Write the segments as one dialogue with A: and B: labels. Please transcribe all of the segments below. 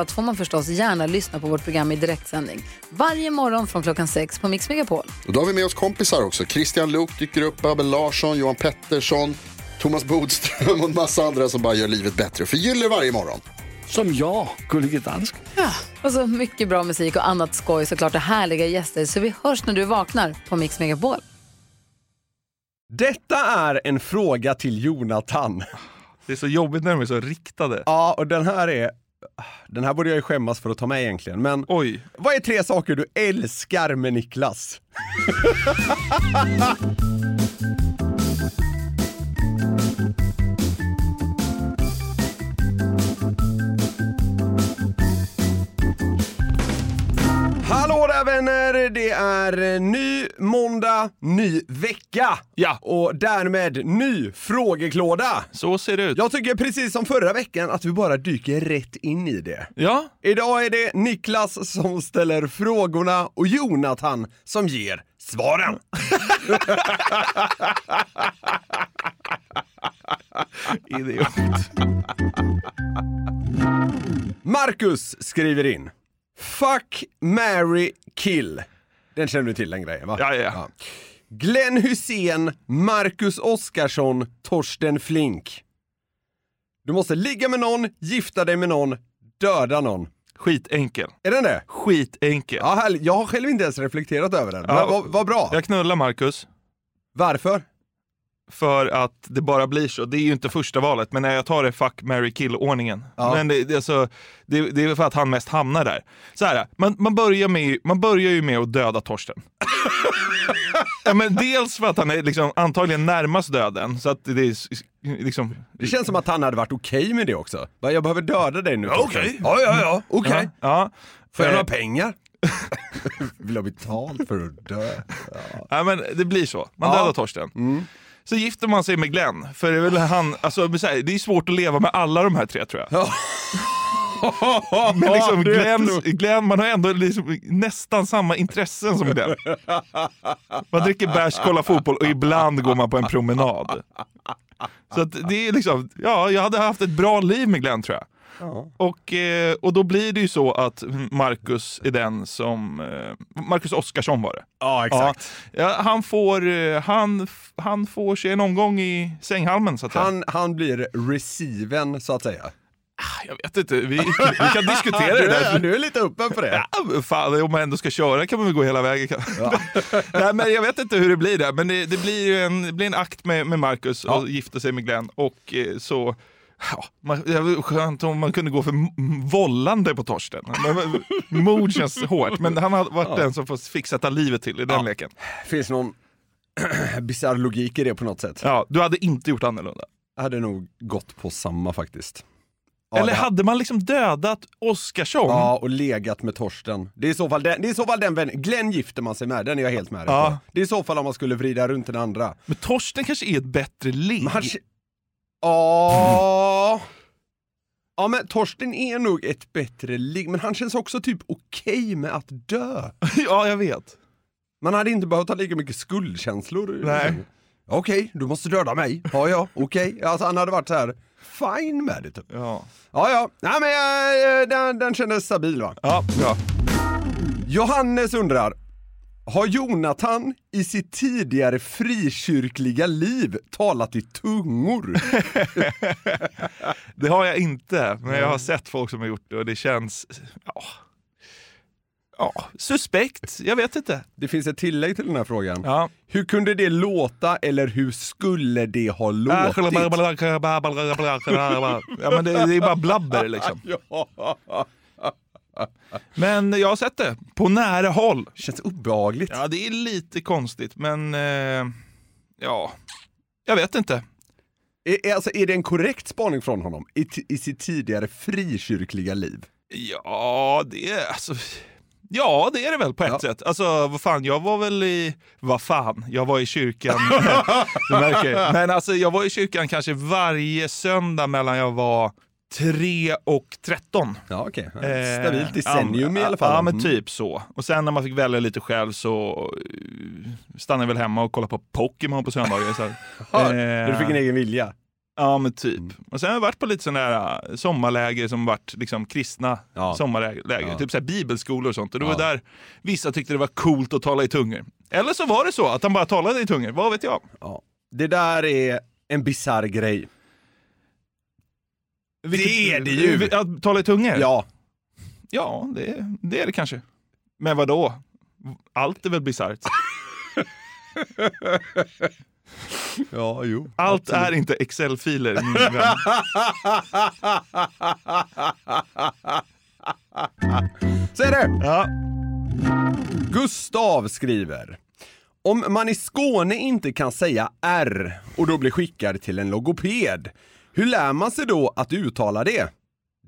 A: allt får man förstås gärna lyssna på vårt program i direktsändning. Varje morgon från klockan sex på Mix Megapol.
B: Och då har vi med oss kompisar också. Christian Luuk dyker upp, Abel Larsson, Johan Pettersson, Thomas Bodström och en massa andra som bara gör livet bättre och förgyller varje morgon.
C: Som jag, Gullige Dansken.
A: Och så mycket bra musik och annat skoj såklart och härliga gäster. Så vi hörs när du vaknar på Mix Megapol.
D: Detta är en fråga till Jonathan.
E: Det är så jobbigt när de är så riktade.
D: Ja, och den här är... Den här borde jag ju skämmas för att ta med egentligen, men...
E: Oj.
D: Vad är tre saker du älskar med Niklas? Hallå där vänner! Det är eh, ny måndag, ny vecka.
E: Ja.
D: Och därmed ny frågeklåda.
E: Så ser det ut.
D: Jag tycker precis som förra veckan att vi bara dyker rätt in i det.
E: Ja,
D: Idag är det Niklas som ställer frågorna och Jonathan som ger svaren.
E: idiot.
D: Marcus skriver in. Fuck, marry, kill. Den känner du till den grejen va?
E: Ja, ja, ja.
D: Glenn Hussein, Marcus Oskarsson, Torsten Flink. Du måste ligga med någon, gifta dig med någon, döda någon.
E: Skitenkel.
D: Är den det?
E: Skitenkel.
D: Ja, härligt. jag har själv inte ens reflekterat över den.
E: Ja.
D: Men Vad vad bra.
E: Jag knullar Marcus
D: Varför?
E: för att det bara blir så. Det är ju inte första valet, men när jag tar det fuck, marry, kill-ordningen.
D: Ja.
E: Men det, det, är så, det, det är för att han mest hamnar där. Så här, man, man, börjar med, man börjar ju med att döda Torsten. ja, men dels för att han är liksom, antagligen närmast döden, så att det är s- s- liksom...
D: Det känns som att han hade varit okej med det också. Bara, Jag behöver döda dig nu. Torsten.
E: Ja, ja, ja.
D: Okej.
E: Ja.
D: Får jag
E: Eh,
D: några pengar? Vill ha betalt för att dö?
E: Ja, men det blir så. Man
D: Ja. Mm.
E: dödar Torsten. Så gifter man sig med Glenn, för det är väl han, alltså, men så här, det är svårt att leva med alla de här tre tror jag. Men liksom
D: du är
E: Glenn,
D: klok.
E: Glenn, man har ändå liksom nästan samma intressen som Glenn. Man dricker bärs, kollar fotboll och ibland går man på en promenad. Så att det är liksom, ja, jag hade haft ett bra liv med Glenn tror jag. Och, eh, och då blir det ju så att Marcus är den som, eh, Marcus Oskarsson var det.
D: Ja, exakt.
E: Ja, han, får, eh, han, f- han får sig en omgång i sänghalmen så att säga.
D: Han, han blir receiven så att säga.
E: Jag vet inte, vi, vi kan diskutera det
D: Du är,
E: där.
D: du är lite öppen för det.
E: Ja, fan, om man ändå ska köra kan man väl gå hela vägen. kan- Nej, men jag vet inte hur det blir där, men det, det blir ju en, det blir en akt med, med Marcus och gifta sig med Glenn. Och eh, så... Ja, man, det var skönt om man kunde gå för m- m- vållande på Torsten. Men- men- Mord känns hårt, men han har varit den som får fixa ta livet till i den leken.
D: Finns någon bisarr logik i det på något sätt?
E: Ja, du hade inte gjort annorlunda.
D: Jag hade nog gått på samma faktiskt. Ja,
E: Eller
D: det-
E: hade man liksom dödat Oskarsson?
D: Ja, och legat med Torsten. Det är i så fall den, det är i så fall den vännen. Glenn gifter man sig med, den är jag helt med dig på.
E: Ja.
D: Det är i så fall om man skulle vrida runt den andra.
E: Men Torsten kanske är ett bättre ligg?
D: Men han... Ja... Ja men Torsten är nog ett bättre ligg, men han känns också typ okej med att dö.
E: ja, jag vet.
D: Man hade inte behövt ha lika mycket skuldkänslor.
E: Nej.
D: Okej, du måste döda mig. Ja, ja, okej. Alltså han hade varit så här fine med det typ.
E: Ja.
D: Ja, ja. Nej men eh, eh, den, den kändes stabil va.
E: Ja, bra.
D: Johannes undrar, har Jonathan i sitt tidigare frikyrkliga liv talat i tungor?
E: Det har jag inte, men jag har sett folk som har gjort det och det känns... Ja. Ja, suspekt. Jag vet inte.
D: Det finns ett tillägg till den här frågan.
E: Ja.
D: Hur kunde det låta eller hur skulle det ha
E: Äh, Oh,
D: låtit?
E: Ja, men det, det är bara blabber liksom.
D: Ja.
E: Men jag har sett det på nära håll.
D: Känns obehagligt.
E: Ja, det är lite konstigt, men... Eh, ja, jag vet inte.
D: Är, är- alltså, är det en korrekt spaning från honom i, ti- i sitt tidigare frikyrkliga liv?
E: Ja, det är alltså... Ja, det är det väl på ett
D: Ja.
E: sätt. Alltså, vad fan, jag var väl i... Vad fan, jag var i kyrkan. du märker. Men alltså, jag var i kyrkan kanske varje söndag mellan jag var 3 och 13.
D: Ja, okej. Ja,
E: Eh,
D: Stabilt decennium
E: ja,
D: i alla fall.
E: Ja, men
D: Mm.
E: typ så. Och sen när man fick välja lite själv så eh, stannade jag väl hemma och kollade på Pokémon på söndagar. Så här.
D: Ja,
E: Eh,
D: Mm. Du fick en egen vilja.
E: Ja, men typ. Och sen har jag varit på lite sådana där eh, sommarläger som varit liksom kristna
D: Ja.
E: sommarläger.
D: Ja.
E: Typ så här bibelskolor och sånt. Och det
D: Ja.
E: var där vissa tyckte det var coolt att tala i tungor. Eller så var det så att han bara talade i tungor, vad vet jag?
D: Ja. Det där är en bisarr grej. det är det ju!
E: Att tala i tungor?
D: Ja,
E: Ja, det, det är det kanske. Men vad då? Allt är väl bisarrt?
D: ja jo.
E: Allt är inte Excel-filer, min vän.
D: Säg det!
E: Ja.
D: Gustav skriver. Om man i Skåne inte kan säga R och då blir skickad till en logoped, hur lär man sig då att uttala det?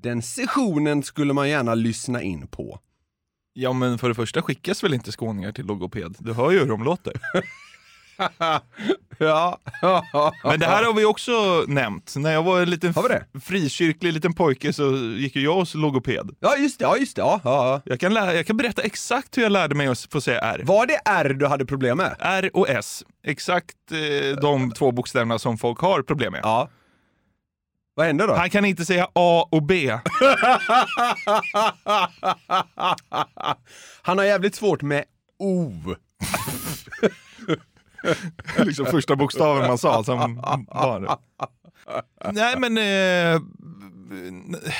D: Den sessionen skulle man gärna lyssna in på.
E: ja, men för det första skickas väl inte skåningar till logoped? Du hör ju hur de låter.
D: Ja.
E: Men det här har vi också nämnt. När jag var en liten
D: Har vi det?
E: f- frikyrklig liten pojke så gick ju jag hos logoped.
D: ja, just det. Ja, just det. Ja, ja. ja.
E: Jag kan, lära, jag kan berätta exakt hur jag lärde mig att få säga R.
D: Var det R du hade problem med?
E: R och S. Exakt eh, de två bokstäverna som folk har problem med.
D: Ja. Vad hände då?
E: Han kan inte säga A och B.
D: Han har jävligt svårt med O.
E: liksom första bokstaven man sa som barn. Nej men, eh,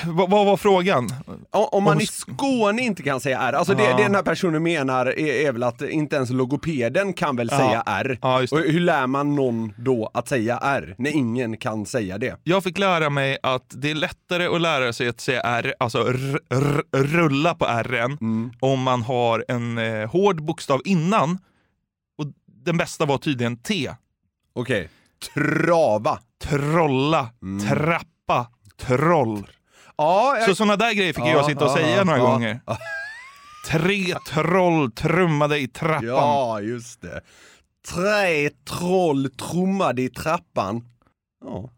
E: vad, vad var frågan?
D: O- Om man
E: Om
D: i
E: sk-
D: Skåne inte kan säga R, alltså det,
E: Ja.
D: det den här personen menar är, är väl att inte ens logopeden kan väl
E: Ja.
D: säga R.
E: Ja, just det.
D: Och hur lär man någon då att säga R, när ingen kan säga det?
E: Jag fick lära mig att det är lättare att lära sig att säga R, alltså r, r, rulla på R
D: Mm.
E: om man har en eh, hård bokstav innan. Och den bästa var tydligen T.
D: Okej. Trava.
E: Trolla,
D: Mm.
E: trappa, troll.
D: Ja, jag...
E: Så sådana där grejer fick
D: Ja,
E: jag sitta och
D: ja,
E: säga några
D: ja.
E: gånger. Tre troll trummade i trappan.
D: ja, just det. Tre troll trummade i trappan. Ja.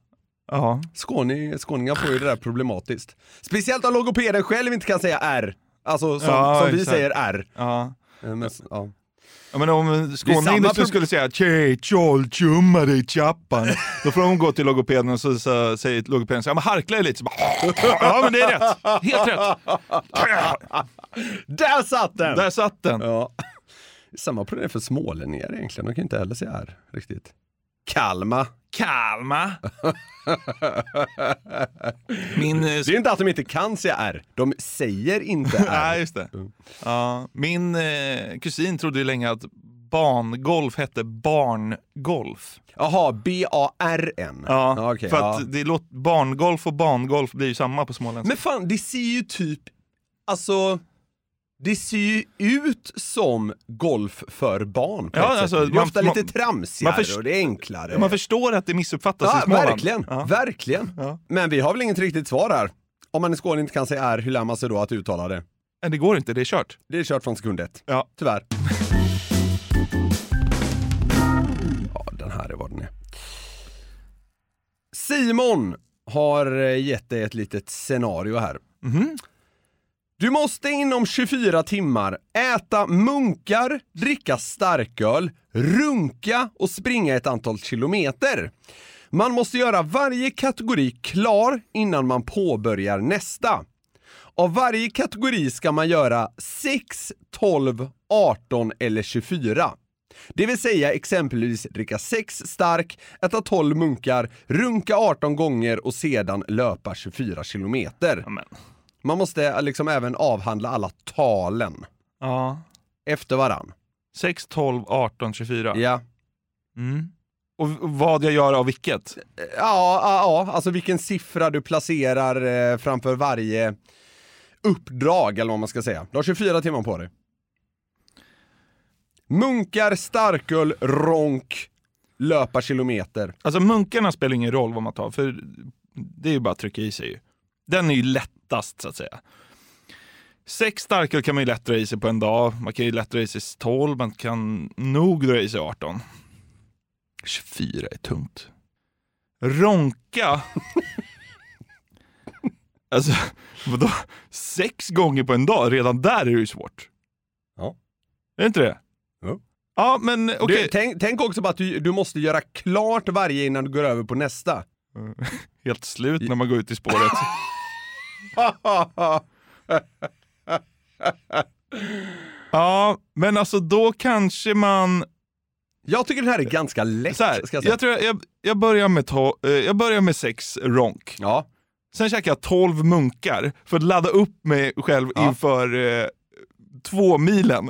E: Ja.
D: Skåne, skåningar får ju det där problematiskt. Speciellt om logopeden själv inte kan säga R. Alltså som,
E: Ja,
D: som vi
E: exakt.
D: säger R.
E: ja.
D: Eh, Men, s- ja.
E: Ja, men om
D: Det är samma
E: skåningen
D: prob-
E: skulle säga tjej, tjoll, tjumma dig, chappan. Då får de gå till logopeden och så, så säger logopeden så här, "Ja, men harkla er lite. Så bara, ja men det är rätt, helt rätt.
D: Där satt den!
E: Där satt den.
D: Ja. Samma problem för smålänningar egentligen, de kan ju inte heller säga R riktigt. Kalma.
E: Kalma. Min, eh,
D: Det är inte att de inte kan säga R, de säger inte
E: nej,
D: R.
E: just det. Ja, min eh, kusin trodde ju länge att bangolf hette barngolf.
D: Jaha, B-A-R-N.
E: Ja,
D: okej,
E: för
D: ja.
E: att det låter, barngolf och bangolf blir ju samma på småländska.
D: Men fan, det ser ju typ, alltså, det ser ju ut som golf för barn på
E: Ja,
D: ett
E: alltså,
D: sätt. Det är
E: man-
D: ofta
E: man-
D: lite tramsigare
E: man först-
D: och det är enklare.
E: Man förstår att det missuppfattas i
D: ja,
E: Småland.
D: verkligen,
E: Ja.
D: verkligen.
E: Ja.
D: Men vi har väl inget riktigt svar här. Om man i Skåne inte kan säga R, hur lär man sig då att uttala det?
E: Nej, det går inte, det är kört.
D: Det är kört från sekund ett.
E: Ja.
D: Tyvärr. Ja, den här är vad den är. Simon har eh, gett dig ett litet scenario här. Du måste inom 24 timmar äta munkar, dricka starköl, runka och springa ett antal kilometer. Man måste göra varje kategori klar innan man påbörjar nästa. Av varje kategori ska man göra 6, 12, 18 eller 24. Det vill säga exempelvis dricka 6 stark, äta 12 munkar, runka 18 gånger och sedan löpa 24 kilometer.
E: Amen.
D: Man måste eh, liksom även avhandla alla talen
E: Ja.
D: efter varann.
E: 6, 12, 18, 24.
D: Ja,
E: Mm. Och v- vad jag gör av vilket?
D: ja, ja, ja. alltså vilken siffra du placerar eh, framför varje uppdrag eller vad man ska säga. Du har 24 timmar på dig. Munkar, starköl, ronk, löpa kilometer.
E: Alltså munkarna spelar ingen roll vad man tar, för det är ju bara att trycka i sig. ju. Den är ju lättast så att säga. Sex starköl kan man ju lätt dra i sig på en dag. Man kan ju lätt dra i sig 12, man kan nog dra i sig 18. 24 är tungt. Ronka. alltså, vadå? Sex gånger på en dag? Redan där är det ju svårt.
D: Ja.
E: Är det inte det?
D: Jo.
E: Ja, men okej.
D: Du, tänk, tänk också på att du, du måste göra klart varje innan du går över på nästa.
E: Helt slut när man går ut i spåret. ja, men alltså då kanske man...
D: Jag tycker den här är ganska lätt.
E: Så här,
D: ska jag säga.
E: jag, tror jag, jag, jag, börjar med to, eh, jag börjar med sex ronk.
D: Ja.
E: Sen käkar jag 12 munkar för att ladda upp mig själv
D: Ja.
E: inför eh, två milen.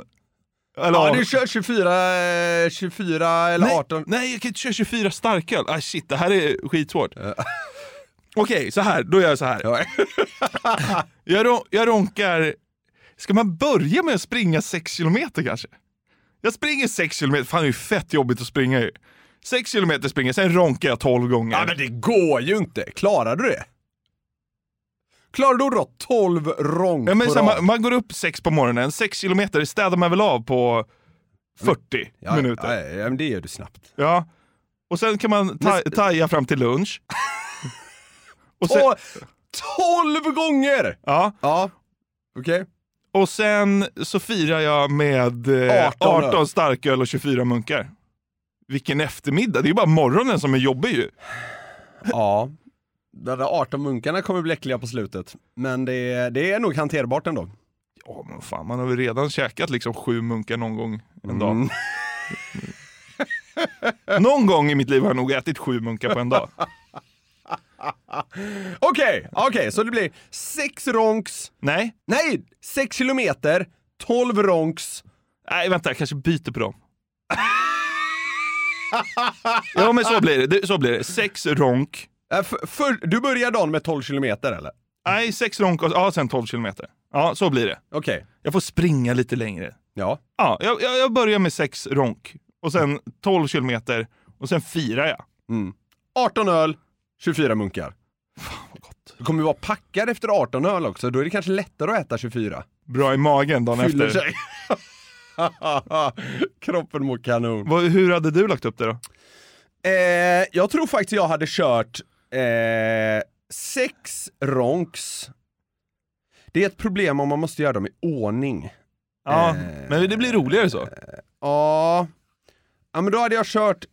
E: Eller,
D: ja, du kör 24, eh, 24 eller
E: nej,
D: 18.
E: Nej, jag kan inte köra 24 starköl. Ah, shit, det här är skitsvårt. Okej, så här. Då gör jag så här.
D: Ja.
E: Jag, ro- jag ronkar... Ska man börja med att springa 6 kilometer kanske? Jag springer 6 kilometer. Fan, det är ju fett jobbigt att springa ju. 6 kilometer springer jag, sen ronkar jag 12 gånger.
D: Ja, men det går ju inte. Klarar du det? Klarar du att dra 12 ronk
E: Ja, men
D: på
E: så här,
D: rad?
E: man, man går upp 6 på morgonen, 6 kilometer städar man väl av på 40
D: ja,
E: minuter.
D: Ja, ja, men det gör du snabbt.
E: Ja. Och sen kan man ta- taja fram till lunch. Och sen,
D: Tol- 12 gånger!
E: ja,
D: Ja, okej.
E: och sen så firar jag med eh,
D: 18
E: 18,
D: öl.
E: starköl och 24 munkar. Vilken eftermiddag, det är ju bara morgonen som är jobbig ju.
D: Ja. De där 18 munkarna kommer bli äckliga på slutet. Men det, det är nog hanterbart ändå.
E: Ja men fan, man har väl redan käkat liksom sju munkar någon gång en dag.
D: Mm.
E: Någon gång i mitt liv har jag nog ätit sju munkar på en dag.
D: Okej, okej, så det blir 6 ronks,
E: Nej,
D: nej, 6 kilometer, 12 ronks.
E: Nej, vänta, jag kanske byter på dem. ja, men så blir det. det. Så blir det. Sex ronk.
D: Äh, för, för, du börjar dagen med 12 kilometer eller?
E: Nej, sex ronk och ja, sen 12 kilometer. Ja, så blir det.
D: Okej,
E: Jag får springa lite längre.
D: ja.
E: Ja, jag, jag, jag börjar med sex ronk och sen 12 kilometer och sen firar jag.
D: 18 öl, 24 munkar.
E: Vad gott.
D: Du kommer ju vara packad efter 18 öl också, då är det kanske lättare att äta 24.
E: Bra i magen dagen
D: Fyller
E: efter.
D: sig. Kroppen mår kanon.
E: Vad, hur hade du lagt upp det då?
D: Eh, jag tror faktiskt jag hade kört eh, sex ronks. Det är ett problem om man måste göra dem i ordning.
E: Ja,
D: Eh,
E: men det blir roligare så.
D: Ja, ja men då hade jag kört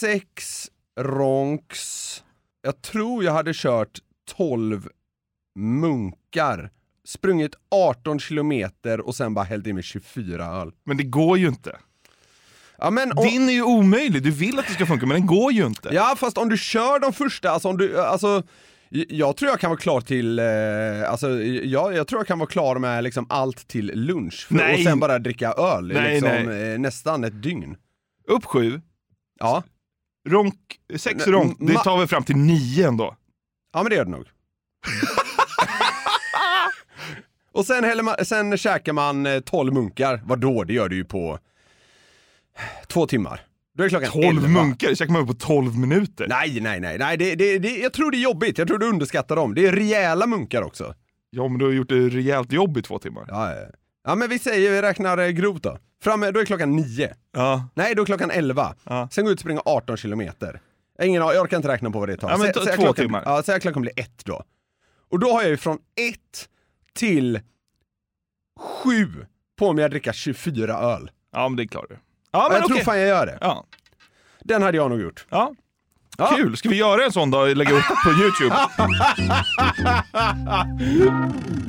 D: sex ronks. Jag tror jag hade kört 12 munkar. Sprungit 18 kilometer och sen bara hällt i mig 24 öl.
E: Men det går ju inte.
D: Ja, men om,
E: Din är ju omöjlig. Du vill att det ska funka, men den går ju inte.
D: Ja, fast om du kör de första, alltså om du, alltså j- jag tror jag kan vara klar till, eh, alltså jag, jag tror jag kan vara klar med liksom allt till lunch. För,
E: Nej.
D: Och sen bara dricka öl i
E: Nej,
D: liksom,
E: nej.
D: Eh, nästan ett dygn.
E: Upp sju,
D: Ja.
E: Ronk, sex
D: Nej,
E: ronk, det
D: ma-
E: tar väl fram till nio ändå?
D: ja, men det gör det nog. och sen, häller man, sen käkar man eh, 12 munkar, vadå, det gör du ju på två timmar. Då är klockan
E: 12
D: elva.
E: munkar, det käkar man upp på 12 minuter.
D: Nej, nej, nej, nej det, det, det, jag tror det är jobbigt, jag tror du underskattar dem. Det är rejäla munkar också.
E: Ja, men du har gjort ett rejält jobb i två timmar.
D: Ja, ja. ja men vi säger, vi räknar eh, grovt då. Framme, då är klockan nio.
E: Ja.
D: Nej, då är klockan elva.
E: Ja.
D: Sen går jag ut och springer 18 kilometer. Jag har Ingen aning, jag orkar inte räkna på vad det tar.
E: Ja, men
D: Sä-
E: ta-
D: säg att
E: två
D: klockan,
E: timmar.
D: Ja, säg att klockan blir ett då. Och då har jag ju från ett till sju på mig att dricka 24 öl.
E: ja, men det klarar du. Ja,
D: Ja,
E: men
D: jag
E: okej.
D: tror fan jag gör det.
E: Ja.
D: Den hade jag nog gjort.
E: Ja.
D: Ja.
E: Kul! Ska vi göra en sån dag och lägga upp på Youtube?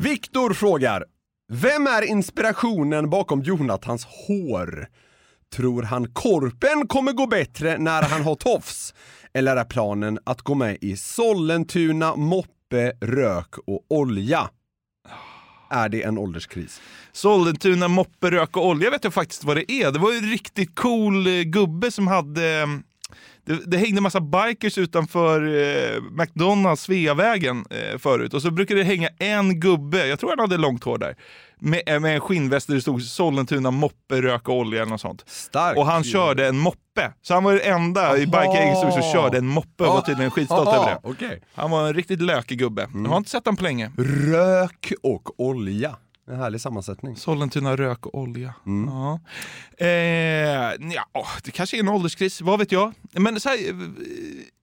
D: Viktor frågar, vem är inspirationen bakom Jonathans hår? Tror han korpen kommer gå bättre när han har tofs? Eller är planen att gå med i Sollentuna, moppe, rök och olja? Är det en ålderskris?
E: Sollentuna, moppe, rök och olja vet jag faktiskt vad det är. Det var ju en riktigt cool eh, gubbe som hade... eh, Det, det hängde massa bikers utanför eh, McDonalds, Sveavägen eh, förut. Och så brukade det hänga en gubbe, jag tror han hade långt hår där, med, eh, med en skinnväst där det stod Sollentuna, moppe, rök och olja eller något sånt.
D: Stark.
E: Och han körde en moppe. Så han var den enda i bikergänget som som körde en moppe och var tydligen skitstolt över det.
D: Okej.
E: Han var en riktigt lökig gubbe. Jag har inte sett honom på länge.
D: Rök och olja. En härlig sammansättning.
E: Sollentuna rök och olja. Ja. Eh, ja, det kanske är en ålderskris, vad vet jag. Men så här, eh,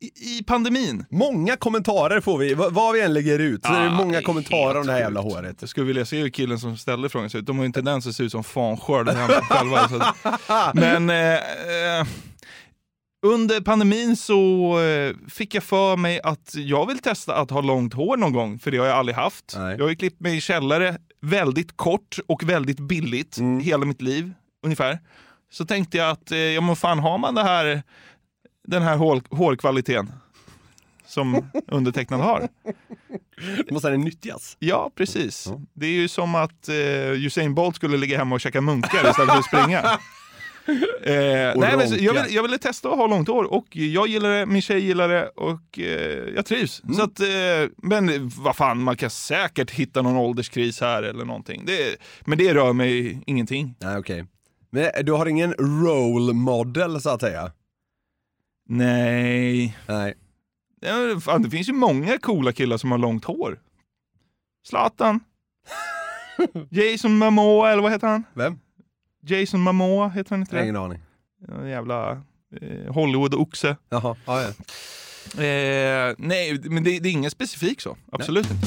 E: i, i pandemin.
D: Många kommentarer får vi, v- vad vi än lägger ut. Så är det många kommentarer om det här jävla
E: Helt sjukt.
D: håret.
E: Jag skulle vilja se hur killen som ställde frågan ser ut. De har ju en tendens att se ut som fanskörd hemma själva. Så att, men eh, eh, under pandemin så eh, fick jag för mig att jag vill testa att ha långt hår någon gång, för det har jag aldrig haft.
D: Nej.
E: Jag har ju klippt mig i källare väldigt kort och väldigt billigt hela mitt liv ungefär. Så tänkte jag att, eh, ja men fan har man det här, den här hår, hårkvaliteten som undertecknad har?
D: Måste den nyttjas?
E: Ja, precis. Det är ju som att eh, Usain Bolt skulle ligga hemma och käka munkar istället för att springa. Eh,
D: Och
E: nej, men så- jag,
D: ronka.
E: vill, jag ville testa att ha långt hår och jag gillar det, min tjej gillar det och eh, jag trivs. Så att, eh, men vad fan, man kan säkert hitta någon ålderskris här eller någonting. Det, men det rör mig ingenting.
D: Nej okej. Men eh, du har ingen role model så att säga?
E: Nej.
D: Nej.
E: Ja, Fan, det finns ju många coola killar som har långt hår. Zlatan. Jason Momoa, eller vad heter han?
D: Vem?
E: Jason Momoa, heter han inte det?
D: Ingen aning.
E: En jävla eh, Hollywood-oxe.
D: Jaha, ja, ja.
E: Eh, nej, men det, det är inget specifikt så. Absolut inte.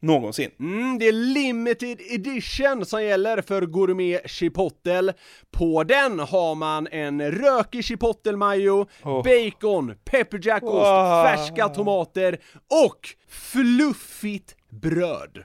F: någonsin.
G: Mm, det är limited edition som gäller för Gourmet Chipotle. På den har man en rökig chipotle-majo, bacon, pepperjackost,
F: Oh. Wow.
G: färska tomater och fluffigt bröd.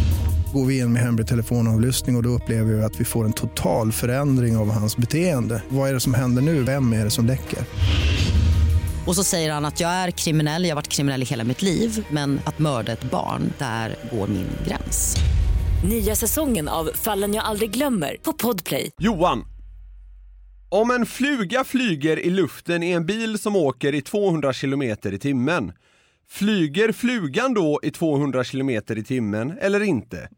H: Går vi in med hemlig telefonavlyssning och, och då upplever vi att vi får en total förändring av hans beteende. Vad är det som händer nu? Vem är det som läcker?
I: Och så säger han att jag är kriminell, jag har varit kriminell i hela mitt liv men att mörda ett barn, där går min gräns.
J: Nya säsongen av Fallen jag aldrig glömmer på Podplay.
D: Johan. Om en fluga flyger i luften i en bil som åker i 200 km i timmen, flyger flugan då i 200 km i timmen eller inte?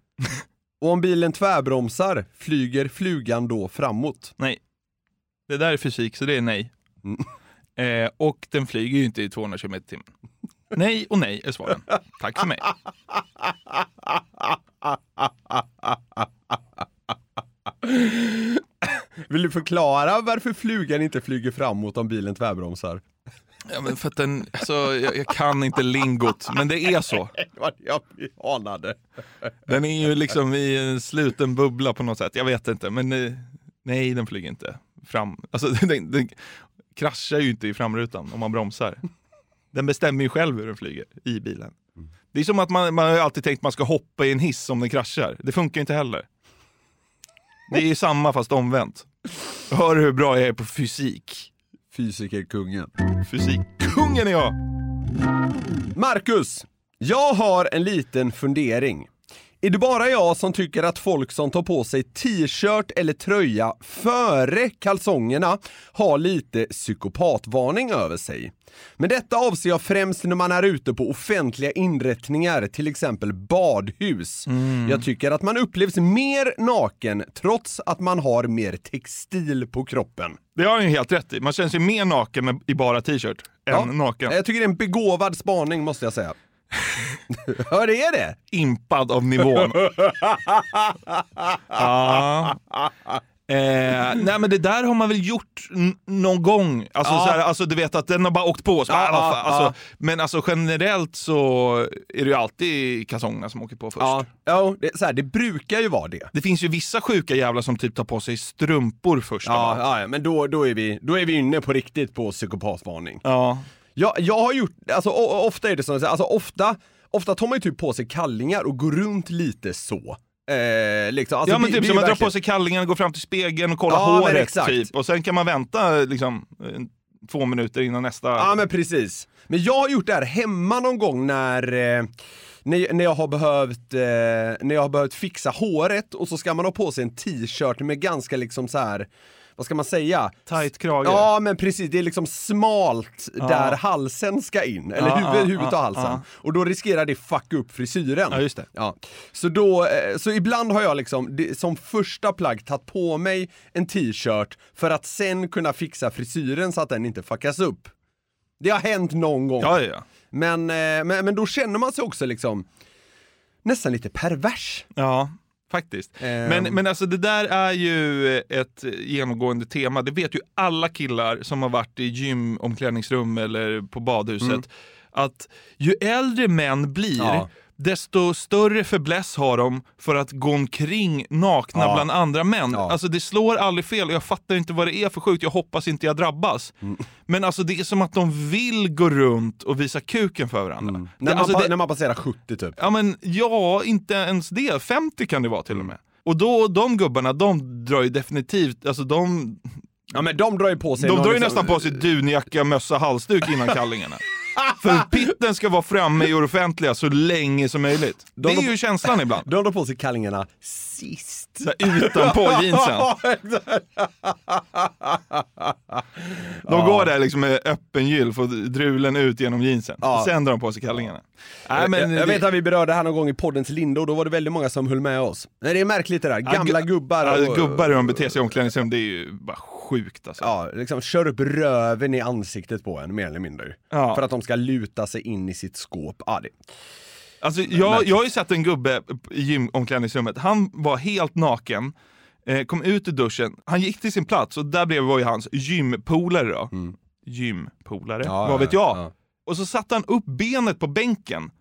D: Och om bilen tvärbromsar, flyger flugan då framåt?
E: Nej. Det där är fysik, så det är nej. Eh, och den flyger ju inte i 200 km i timmen. Nej och nej är svaren. Tack för mig.
D: Vill du förklara varför flugan inte flyger framåt om bilen tvärbromsar?
E: Ja, men för att den, alltså, jag, jag kan inte lingot, men det är så.
D: Det var det jag anade.
E: Den är ju liksom i en sluten bubbla på något sätt. Jag vet inte, men eh, nej, den flyger inte fram. Alltså, den, den kraschar ju inte i framrutan om man bromsar. Den bestämmer ju själv hur den flyger i bilen. Det är som att man, man har ju alltid tänkt att man ska hoppa i en hiss om den kraschar. Det funkar ju inte heller. Det är ju samma fast omvänt. Hör hur bra jag är på fysik.
D: Fysikerkungen.
E: Fysikkungen är jag!
D: Marcus, jag har en liten fundering. Är det bara jag som tycker att folk som tar på sig t-shirt eller tröja före kalsongerna har lite psykopatvarning över sig? Men detta avser jag främst när man är ute på offentliga inrättningar, till exempel badhus. Jag tycker att man upplevs mer naken trots att man har mer textil på kroppen.
E: Det har han ju helt rätt i. Man känns ju mer naken med, i bara t-shirt än
D: Ja,
E: naken.
D: Jag tycker det är en begåvad spaning måste jag säga. Ja, det är det.
E: Impad av nivån. ja. Eh, nej men det där har man väl gjort n- någon gång. Alltså,
F: Ja.
E: så här, alltså du vet att den har bara åkt på. Så,
F: Ja,
E: ah, vad fan,
F: ja,
E: alltså,
F: ja.
E: Men alltså generellt så är det ju alltid kalsongerna som åker på först.
D: Ja, ja det, så här, det brukar ju vara det.
E: Det finns ju vissa sjuka jävlar som typ tar på sig strumpor först. av
D: Ja,
E: allt.
D: ja, ja, men då, då, är vi, då är vi inne på riktigt på psykopatsvarning.
E: ja.
D: Jag, jag har gjort, alltså o- ofta är det som, alltså ofta, ofta tar man ju typ på sig kallingar och går runt lite så. Eh, liksom. alltså,
E: ja men
D: det-
E: typ
D: det är
E: som man drar
D: verkligen-
E: på sig kallingen, går fram till spegeln och kollar
D: Ja, men
E: håret
D: exakt.
E: typ. Och sen kan man vänta liksom eh, två minuter innan nästa.
D: Ja men precis. Men jag har gjort det här hemma någon gång när, eh, när, när, jag har behövt, eh, när jag har behövt fixa håret och så ska man ha på sig en t-shirt med ganska liksom så här. Vad ska man säga?
E: Tight krage.
D: Ja men precis, det är liksom smalt där halsen ska in, eller
E: Ja,
D: huvud,
E: ja,
D: huvudet och
E: ja,
D: halsen.
E: ja.
D: Och då riskerar det fucka upp frisyren.
E: Ja, just det.
D: Ja. Så, då, eh, så ibland har jag liksom det- som första plagg tagit på mig en t-shirt för att sen kunna fixa frisyren så att den inte fuckas upp. Det har hänt någon gång.
E: Ja, ja, ja.
D: Men, eh, men, men då känner man sig också liksom nästan lite pervers.
E: Ja, faktiskt.
D: Eh.
E: Men,
D: Ehm.
E: men alltså det där är ju ett genomgående tema. Det vet ju alla killar som har varit i gymomklädningsrum eller på badhuset. Att ju äldre män blir,
D: Mm. Ja.
E: desto större förbläss har de för att gå omkring nakna bland andra män.
D: Ja.
E: Alltså det slår aldrig fel och jag fattar inte vad det är för sjukt. Jag hoppas inte jag drabbas.
D: Mm.
E: Men alltså det är som att de vill gå runt och visa kuken för varandra. Det-
D: Mm. När, man,
E: alltså,
D: pa-
E: det-
D: när man passerar 70 typ.
E: Ja, men ja, inte ens det. 50 kan det vara till och med. Och då, de gubbarna, de drar ju definitivt, alltså de,
D: Ja men de drar ju på sig
E: de
D: någon
E: drar ju
D: liksom-
E: nästan på sig dunjacka, mössa, halsduk innan kallingarna. För pitten ska vara framme i det offentliga så länge som möjligt. Det är ju känslan ibland.
D: De drar på sig kallingarna sist.
E: Så här, Utanpå jeansen.
D: Ja, exakt.
E: De går där liksom med öppen gylf och drulen ut genom jeansen.
D: Ja.
E: Sen drar de på sig kallingarna. Nej, men
D: jag, jag
E: det-
D: vet att vi berörde det här någon gång i poddens linda och då var det väldigt många som höll med oss. Nej, det är märkligt det där. Gamla
E: gu-
D: gubbar.
E: Ja,
D: och-
E: gubbar hur de beter sig i omklädningsrum, det är ju bara sjukt alltså.
D: Ja, liksom kör upp röven i ansiktet på en mer eller mindre.
E: Ja.
D: För att de ska luta sig in i sitt skåp. Ja, det...
E: Alltså, jag, jag har ju sett en gubbe i gymomklädningsrummet, han var helt naken, eh, kom ut ur duschen, han gick till sin plats och där bredvid var ju hans gympolare då. Gympolare,
D: Mm. Ja,
E: vad vet
D: ja,
E: jag?
D: ja. Mm.
E: Och så satte han upp benet på bänken.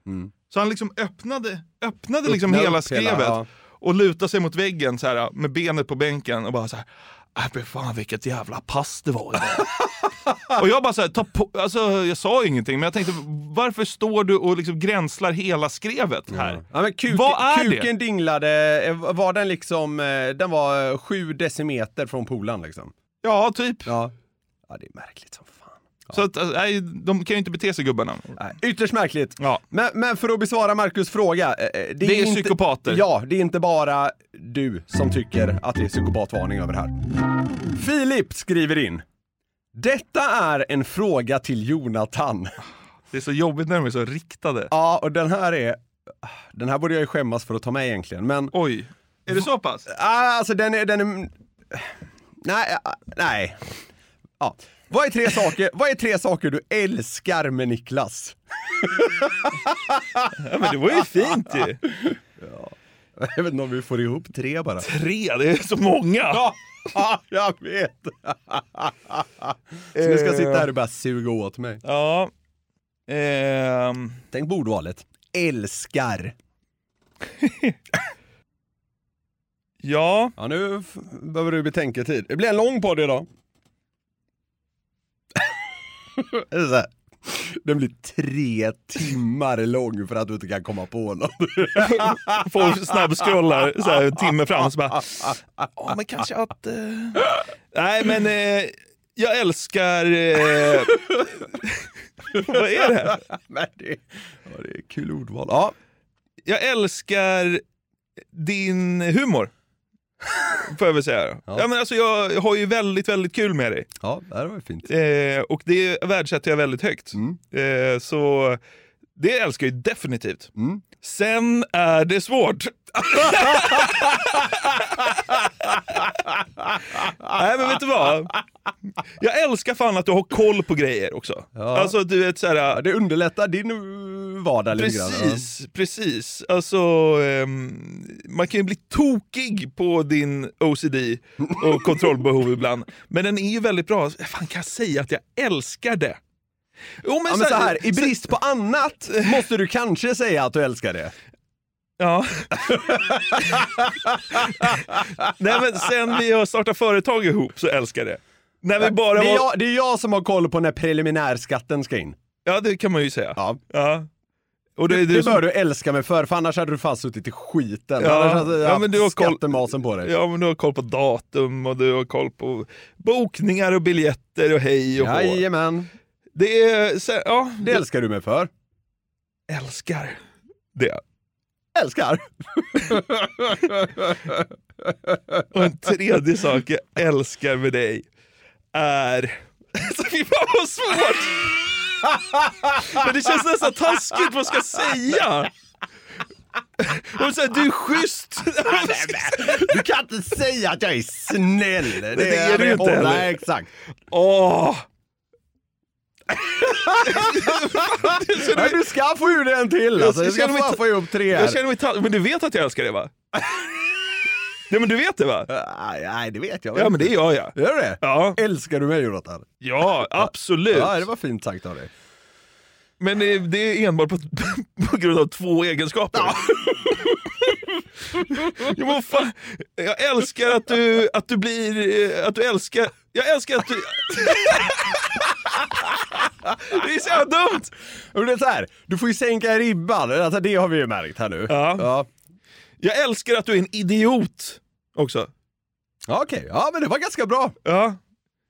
E: Så han liksom öppnade, öppnade liksom
D: Öppnade
E: hela
D: upp hela,
E: skrevet
D: ja.
E: och lutade sig mot väggen så här, med benet på bänken och bara så här. "Äh, fy fan vilket jävla pass det var idag." Och jag bara så här, ta på, alltså jag sa ju ingenting men jag tänkte varför står du och liksom gränslar hela skrevet här?
D: Ja, men kuk,
E: Vad är det?
D: kuken dinglade, eh, var den liksom, eh, den var eh, sju decimeter från polan liksom.
E: Ja, typ.
D: Ja. ja, det är märkligt som fan.
E: Så att, alltså, nej, de kan ju inte bete sig gubbarna.
D: Nej, Ytterst märkligt.
E: Ja.
D: Men, men för att besvara Markus fråga. eh, eh,
E: Det är psykopater.
D: Ja, det är inte bara du som tycker att det är psykopatvarning över det här. Filip skriver in. Detta är en fråga till Jonathan.
E: Det är så jobbigt när de är så riktade.
D: Ja, och den här är... Den här borde jag ju skämmas för att ta med egentligen, men...
E: Oj, är det så pass?
D: Ah, Alltså den är, den är... Nej, ah, nej. Ja. Vad är tre saker, vad är tre saker du älskar med Niklas?
E: Ja, men det var ju fint ju.
D: Jag vet inte om vi får ihop tre bara.
E: Tre, det är så många.
D: Ja, ja, jag vet. Så nu ska jag sitta här och bara suga åt mig.
E: Ja. Ehm,
D: Tänk på ordvalet. Älskar.
E: ja.
D: Ja, nu f- behöver du betänketid. Det blir en lång podd idag. Det är så här. Den blir tre timmar lång för att du inte kan komma på något.
E: Folk snabbscrollar så här, en timme fram och så bara, ja men kanske att... eh." Nej men eh, jag älskar... eh, Vad är det?
D: Men det, ja, det är kul ordval. Ja,
E: Jag älskar din humor. Får jag väl säga. då. Ja. men alltså, jag har ju väldigt, väldigt kul med dig.
D: ja det här var ju fint.
E: Eh, och det värdesätter jag väldigt högt. Eh, så det älskar jag ju definitivt. Sen är det svårt. Nej men vet du vad? Jag älskar fan att du har koll på grejer också. Alltså du vet såhär...
D: det underlättar din uh, vardag lite grann,
E: Precis, precis. Alltså, ehm, man kan ju bli tokig på din OCD och kontrollbehov ibland. Men den är ju väldigt bra. Fan kan jag säga att jag älskar det? Jo,
D: Ja, men så här, i brist på annat måste du kanske säga att du älskar det.
E: Ja. Nej men sen vi har startat företag ihop så älskar jag det. När vi bara
D: det, är
E: var...
D: jag, det är jag som har koll på när preliminärskatten ska in.
E: Ja det kan man ju säga.
D: Ja.
E: Och det,
D: det,
E: är du som-
D: bör du älska mig för, för annars hade du fan suttit i skiten.
E: Ja.
D: Annars hade jag
E: Ja, men du har
D: haft
E: koll-
D: skattemasen på dig.
E: Ja, men du har koll på datum och du har koll på bokningar och biljetter och hej och hå.
D: Jajamän.
E: Det är... Så, ja,
D: Det älskar du mig för.
E: älskar det.
D: Älskar.
E: Och en tredje sak jag älskar med dig är... Alltså, Fy fan vad svårt! Men det känns nästan taskigt vad jag ska säga. Och så här, du är schysst!
D: Du kan inte säga att jag är snäll. Det,
E: det är du inte
D: håller-
E: heller.
D: exakt.
E: Åh!
D: Men du ska få ur den till. Alltså. Jag
E: Jag
D: ska
E: känner mig
D: fan
E: ta-
D: få ihop tre här.
E: Jag känner mig ta- Men du vet att jag älskar det va? Ja men du vet det va?
D: Nej, Nej, det vet jag väl
E: Ja men det
D: inte.
E: gör jag.
D: Gör du det?
E: Ja,
D: Älskar du mig Jonathan?
E: ja absolut.
D: Ja, det var fint sagt av dig.
E: Men det, det är enbart på, på grund av två egenskaper. jo, men fan, jag älskar att du, att du blir... eh, Att du älskar... Jag älskar att du... det är så jävla dumt!
D: Men det är så här, du får ju sänka ribban. Alltså, det har vi ju märkt här nu.
E: Ja.
D: Ja,
E: Jag älskar att du är en idiot också.
D: ja okej. Ja, men det var ganska bra.
E: Ja,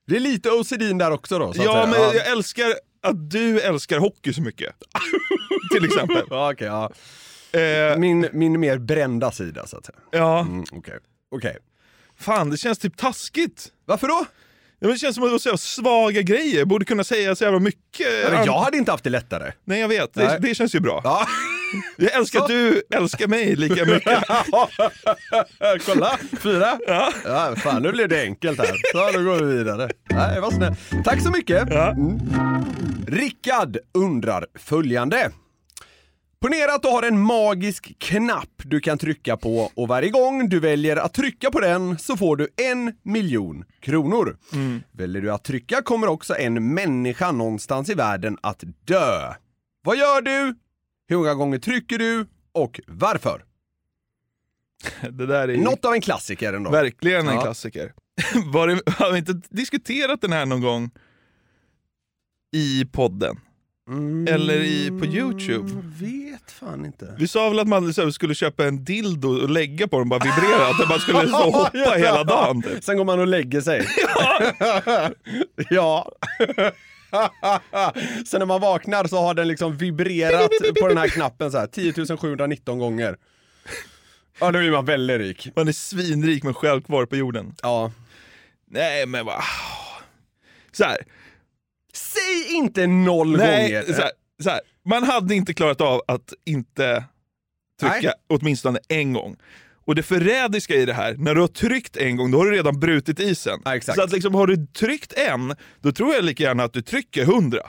D: Det är lite OCD där också då. Så att
E: ja
D: säga.
E: men jag älskar att du älskar hockey så mycket. Till exempel.
D: Ja, okej, ja.
E: Eh,
D: Min, min mer brända sida så att säga.
E: ja,
D: Mm, okej. Okej.
E: fan det känns typ taskigt.
D: Varför då?
E: Ja, men Det känns som att det var så jävla svaga grejer, Jag borde kunna säga så jävla mycket.
D: Ja, men jag hade inte haft det lättare.
E: Nej jag vet,
D: Nej.
E: det, det känns ju bra.
D: Ja,
E: Jag älskar att du älskar mig lika mycket.
D: kolla. Fyra.
E: Ja.
D: Ja, fan nu blev det enkelt här. Så nu går vi vidare. Nej, var snäll. Tack så mycket. Mm. Rickard undrar följande. Ponera att du har en magisk knapp du kan trycka på och varje gång du väljer att trycka på den så får du en miljon kronor. Väljer du att trycka kommer också en människa någonstans i världen att dö. Vad gör du? Hur många gånger trycker du? Och varför?
E: Det där är ju
D: Något av en klassiker ändå.
E: verkligen en
D: Ja.
E: klassiker. Var det, har vi inte diskuterat den här någon gång i podden?
D: Mm.
E: Eller i, på Youtube?
D: vet fan inte.
E: Vi sa väl att man så här, skulle köpa en dildo och lägga på den och bara vibrera, att den bara skulle så hoppa
D: Ja.
E: hela dagen. typ.
D: Sen går man och lägger sig. ja. Sen när man vaknar så har den liksom vibrerat på den här knappen så här 10 719 gånger. Ja, då blir man väldigt rik.
E: Man är svinrik men själv kvar på jorden.
D: Ja.
E: Nej men vad... Så här,
D: Säg inte noll
E: Nej,
D: gånger.
E: så här, så här. Man hade inte klarat av att inte trycka
D: Nej.
E: åtminstone en gång. Och det förrädiska i det här, när du har tryckt en gång, då har du redan brutit isen.
D: Ja, exakt.
E: Så att liksom, har du tryckt en, då tror jag lika gärna att du trycker hundra.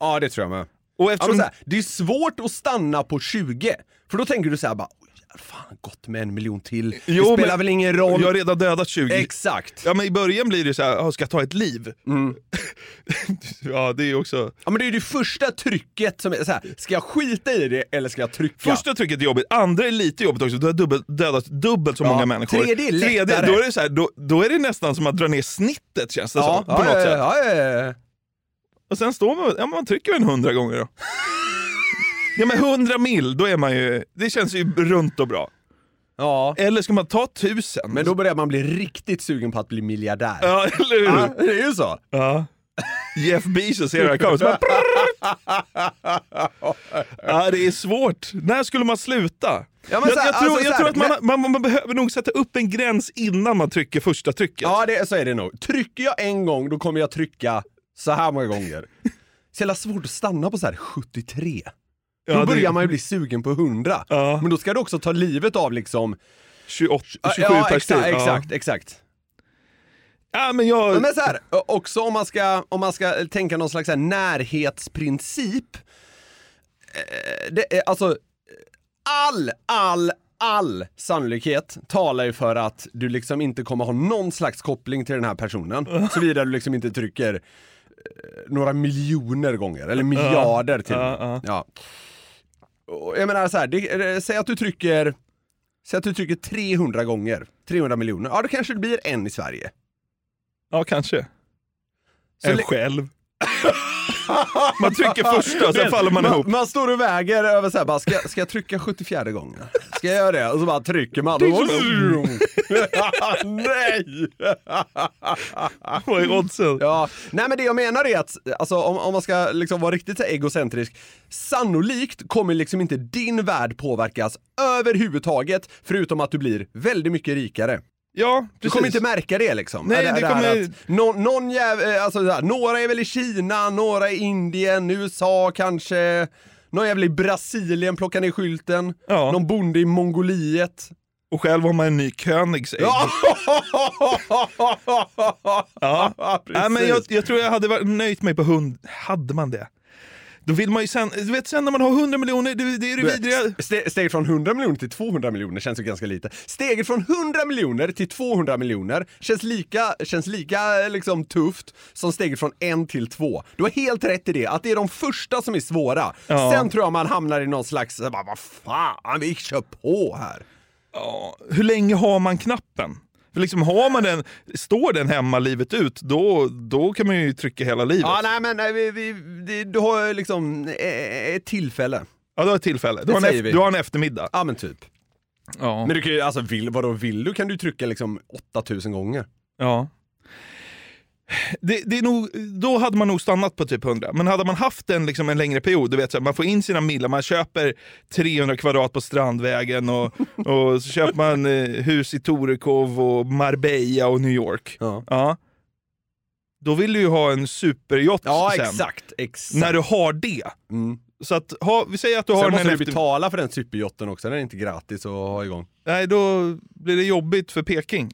D: Ja, det tror jag med.
E: Och
D: Ja, men
E: eftersom...
D: så här, det är svårt att stanna på 20, för då tänker du så här bara, "Oj, fan gott med en miljon till.
E: Jo,
D: det spelar
E: men-
D: väl ingen roll.
E: jag har redan dödat 20.
D: Exakt.
E: ja, men I början blir det så här, "Ah, ska jag ta ett liv? ja, det är ju också...
D: Ja men det är ju det första trycket som är så här. ska jag skita i det eller ska jag trycka?
E: Första trycket är jobbigt, andra är lite jobbigt också. Du har dubbel, dödat dubbelt så
D: Ja.
E: många människor.
D: Tredje är lättare.
E: då, är det så här, då, då är det nästan som att dra ner snittet känns det
D: ja,
E: som. På
D: ja,
E: något
D: ja,
E: sätt.
D: ja, ja, ja.
E: Och sen står man, ja, man trycker en hundra gånger då. Ja men 100 mil, då är man ju, det känns ju runt och bra.
D: ja.
E: Eller ska man ta tusen?
D: Men då börjar man bli riktigt sugen på att bli miljardär.
E: Ja, eller hur?
D: Ja, det är ju så.
E: Ja. Jeff Bezos ser det här komma, så bara prrrr. Ja, det är svårt. När skulle man sluta?
D: Ja, men
E: jag,
D: så här,
E: jag, tror,
D: alltså, så
E: jag
D: här,
E: tror att man, man, man behöver nog sätta upp en gräns innan man trycker första trycket.
D: Ja, det, så är det nog. Trycker jag en gång, då kommer jag trycka så här många gånger. Så jävla svårt att stanna på så här 73. Då
E: Ja, det-
D: börjar man ju bli sugen på 100. Men då ska du också ta livet av liksom...
E: 28, 27
D: ja,
E: perspektiv,
D: Exakt,
E: ja.
D: exakt, exakt.
E: Ja, men jag...
D: Men så här, ö- också om man ska, om man ska tänka någon slags så här närhetsprincip. Eh, Det är, alltså, all, all, all sannolikhet talar ju för att du liksom inte kommer ha någon slags koppling till den här personen. Såvida du liksom inte trycker eh, några miljoner gånger, eller miljarder till.
E: Ja, ja.
D: Ja. Och Jag menar så här, det, eh, säg att du trycker Säg att du trycker 300 gånger, 300 miljoner. Ja, då kanske det blir en i Sverige.
E: Ja, kanske.
D: Så
E: en
D: le-
E: själv. man trycker första, sen
D: Men
E: faller man ihop.
D: Man står och väger över så här, bara, ska, ska jag trycka 74 gången? Ska jag göra det? Och så bara trycker man. Nej!
E: Vad är oddsen?
D: Ja, nej men det jag menar är att, alltså, om, om man ska liksom vara riktigt så här egocentrisk, sannolikt kommer liksom inte din värld påverkas överhuvudtaget, förutom att du blir väldigt mycket rikare.
E: Ja,
D: Du
E: precis.
D: kommer inte märka det liksom.
E: Nej, det
D: här
E: kommer-
D: att nå- någon jäv, eh, alltså, det här, några är väl i Kina, några i Indien, USA kanske. Någon jävel i Brasilien plockar ner skylten.
E: Ja.
D: Någon bonde i Mongoliet.
E: Och själv har man en ny Koenigsegg.
D: Ja,
E: Ja.
D: precis.
E: Nej, men jag, jag tror jag hade varit nöjt mig på hund. Hade man det? Då vill man ju sen, du vet sen när man har 100 miljoner, det, det är det
D: Du vet,
E: vidriga.
D: ste- Steget från 100 miljoner till 200 miljoner känns ju ganska lite. Steget från 100 miljoner till 200 miljoner känns lika, känns lika eh, liksom, tufft som steget från 1 till 2. Du har helt rätt i det, att det är de första som är svåra.
E: Ja.
D: Sen tror jag man hamnar i någon slags, eh, bara, vad fan, vi kör på här.
E: Ja, hur länge har man knappen? För liksom har man den, står den hemma livet ut, då, då kan man ju trycka hela livet.
D: Ja, nej men nej, vi, vi, det, du har ju liksom eh, ett tillfälle.
E: Ja, då har ett tillfälle. Du har, en
D: säger
E: eft-
D: vi.
E: du har en eftermiddag.
D: Ja men typ.
E: Ja.
D: Men du kan ju, alltså vill, vadå vill du kan du trycka liksom 8000 gånger.
E: Ja. Det, det är nog, då hade man nog stannat på typ 100. Men hade man haft en, liksom, en längre period, du vet, så här, man får in sina millar, man köper 300 kvadrat på Strandvägen och, och så köper man eh, hus i Torekov och Marbella och New York.
D: Ja.
E: Då vill du ju ha en superyacht
D: Ja
E: sen.
D: exakt, exakt.
E: När du har det.
D: Mm.
E: Så att, ha, vi säger att du har
D: Sen
E: den
D: måste
E: en
D: du
E: efter-
D: betala för den superjotten också, den är inte gratis att ha igång.
E: Nej, då blir det jobbigt för Peking.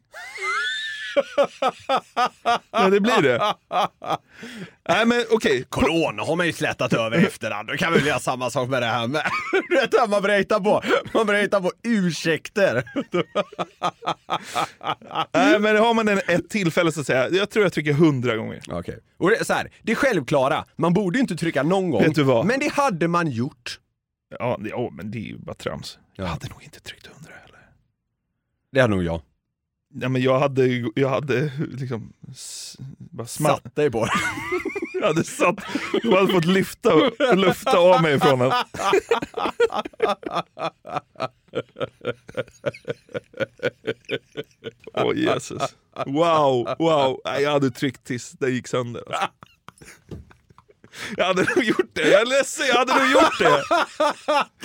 E: ja, det blir det. Nej, men okej.
D: Corona har man ju slätat över i efterhand, då kan vi väl göra samma sak med det här med. Du vet, det här man börjar hitta på, man börjar hitta på ursäkter.
E: Nej, men har man en, ett tillfälle så att säga, jag tror jag trycker hundra gånger.
D: Okej. Och det, är så här, det är självklara, man borde ju inte trycka någon gång.
E: Vet du vad?
D: Men det hade man gjort.
E: Ja, det, ja, men det är ju bara trams. Jag
D: Ja.
E: hade nog inte tryckt hundra heller.
D: Det hade nog jag.
E: Nej, men jag hade, jag hade liksom, s, bara smatt.
D: Satt dig på det.
E: Jag hade satt, jag hade fått lyfta, lufta av mig från den. Åh Jesus. Wow, wow. Nej, Jag hade tryckt tills det gick sönder. Alltså. Jag hade nog gjort det. Jag är ledsen, jag hade nog gjort det.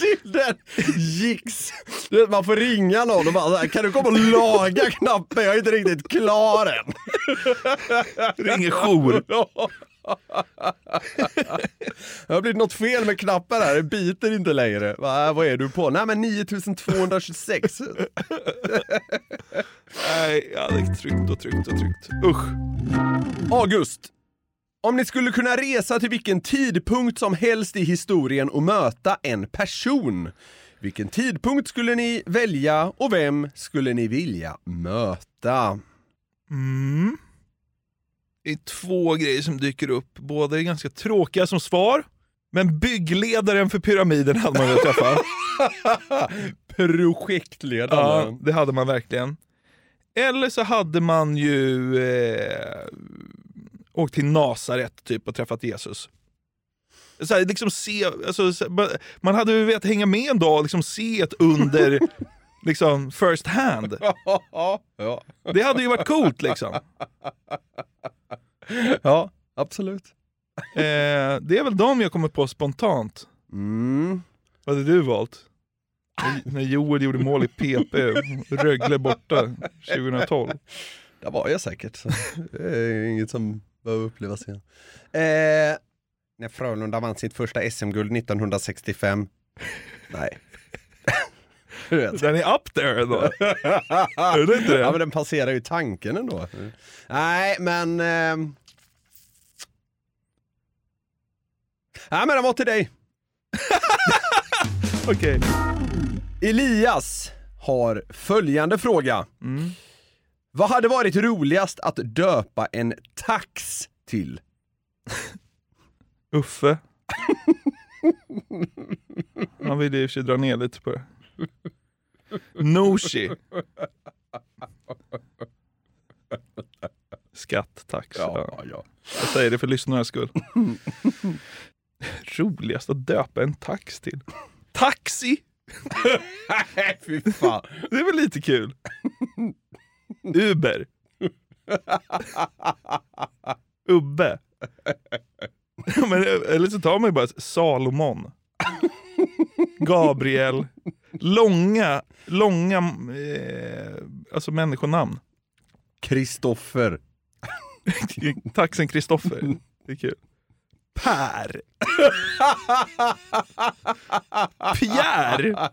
D: till den gicks. Du vet, man får ringa någon och bara så här, kan du komma och laga knappen? Jag är inte riktigt klar än.
E: Ringer jour.
D: Det har blivit något fel med knappen här, det biter inte längre. Va, vad är du på? Nej men 9226.
E: Nej, jag hade tryckt och tryckt och tryckt. Usch.
D: August. Om ni skulle kunna resa till vilken tidpunkt som helst i historien och möta en person, vilken tidpunkt skulle ni välja och vem skulle ni vilja möta?
E: Mm. Det är två grejer som dyker upp. Båda är ganska tråkiga som svar. Men byggledaren för pyramiden hade man velat träffa.
D: Projektledaren.
E: ja, det hade man verkligen. Eller så hade man ju eh, åkt till Nasaret typ och träffat Jesus. Så här, liksom se, alltså, så- ba- man hade ju velat hänga med en dag och liksom se ett under liksom, first hand.
D: Ja. ja.
E: Det hade ju varit coolt liksom.
D: Ja, absolut.
E: Eh, det är väl de jag kommer på spontant.
D: Mm.
E: Vad hade du valt? När- När Joel gjorde mål i PP, Rögle borta 2012.
D: Där var jag säkert. Så Det är inget som behöver upplevas igen. Eh, när Frölunda vann sitt första SM-guld 1965, Nej.
E: Den är up there ändå.
D: är
E: det inte det?
D: Ja, men den passerar ju tanken ändå. Nej, men... ehm. Nej, men den var till dig.
E: Okej.
D: Elias har följande fråga.
E: Mm.
D: Vad hade varit roligast att döpa en tax till?
E: Uffe. Han ville i och för sig dra ner lite på det. Noshi. Skatt, tax. Ja. Jag säger det för lyssnarnas skull. Roligast att döpa en tax till. Taxi!
D: Nej, fy fan.
E: Det är väl lite kul? Uber. Ubbe. Ja, Men, eh, eller så tar man ju bara Salomon. Gabriel. Långa, långa eh, alltså människonamn.
D: Kristoffer.
E: Taxen Kristoffer. Det är kul. Per. Pierre.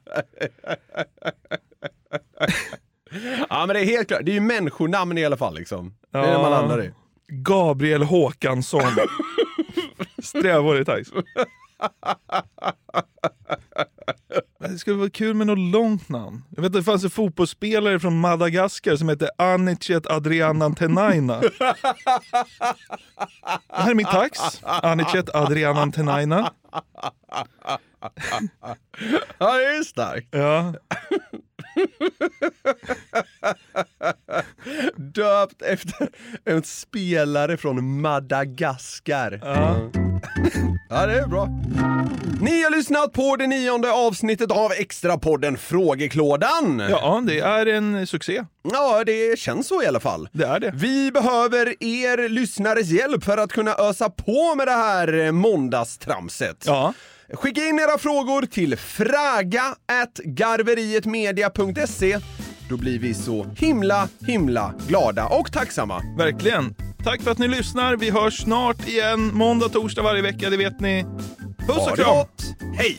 D: Ja, men det är helt klart. Det är ju människonamn i alla fall liksom. Det är det man
E: Ja.
D: landar i.
E: Gabriel Håkansson. Strävår i tax. Men Det skulle vara kul med något långt namn. Jag vet att det fanns en fotbollsspelare från Madagaskar som hette Anicet Adriana Tenaina. Det här är min tax. Anicet Adriana Tenaina.
D: Ja, det är ju starkt.
E: Ja.
D: Döpt efter en spelare från Madagaskar.
E: Ja.
D: Ja, det är bra. Ni har lyssnat på det nionde avsnittet av Extrapodden Frågeklådan.
E: ja, det är en succé.
D: Ja, det känns så i alla fall.
E: Det är det.
D: Vi behöver er lyssnares hjälp för att kunna ösa på med det här eh, måndagstramset.
E: Ja.
D: Skicka in era frågor till fraga@garverietmedia.se. Då blir vi så himla, himla glada och tacksamma.
E: Verkligen. Tack för att ni lyssnar. Vi hörs snart igen. Måndag, torsdag varje vecka, det vet ni. Puss
D: Ha
E: och
D: det
E: kram!
D: gott! Hej!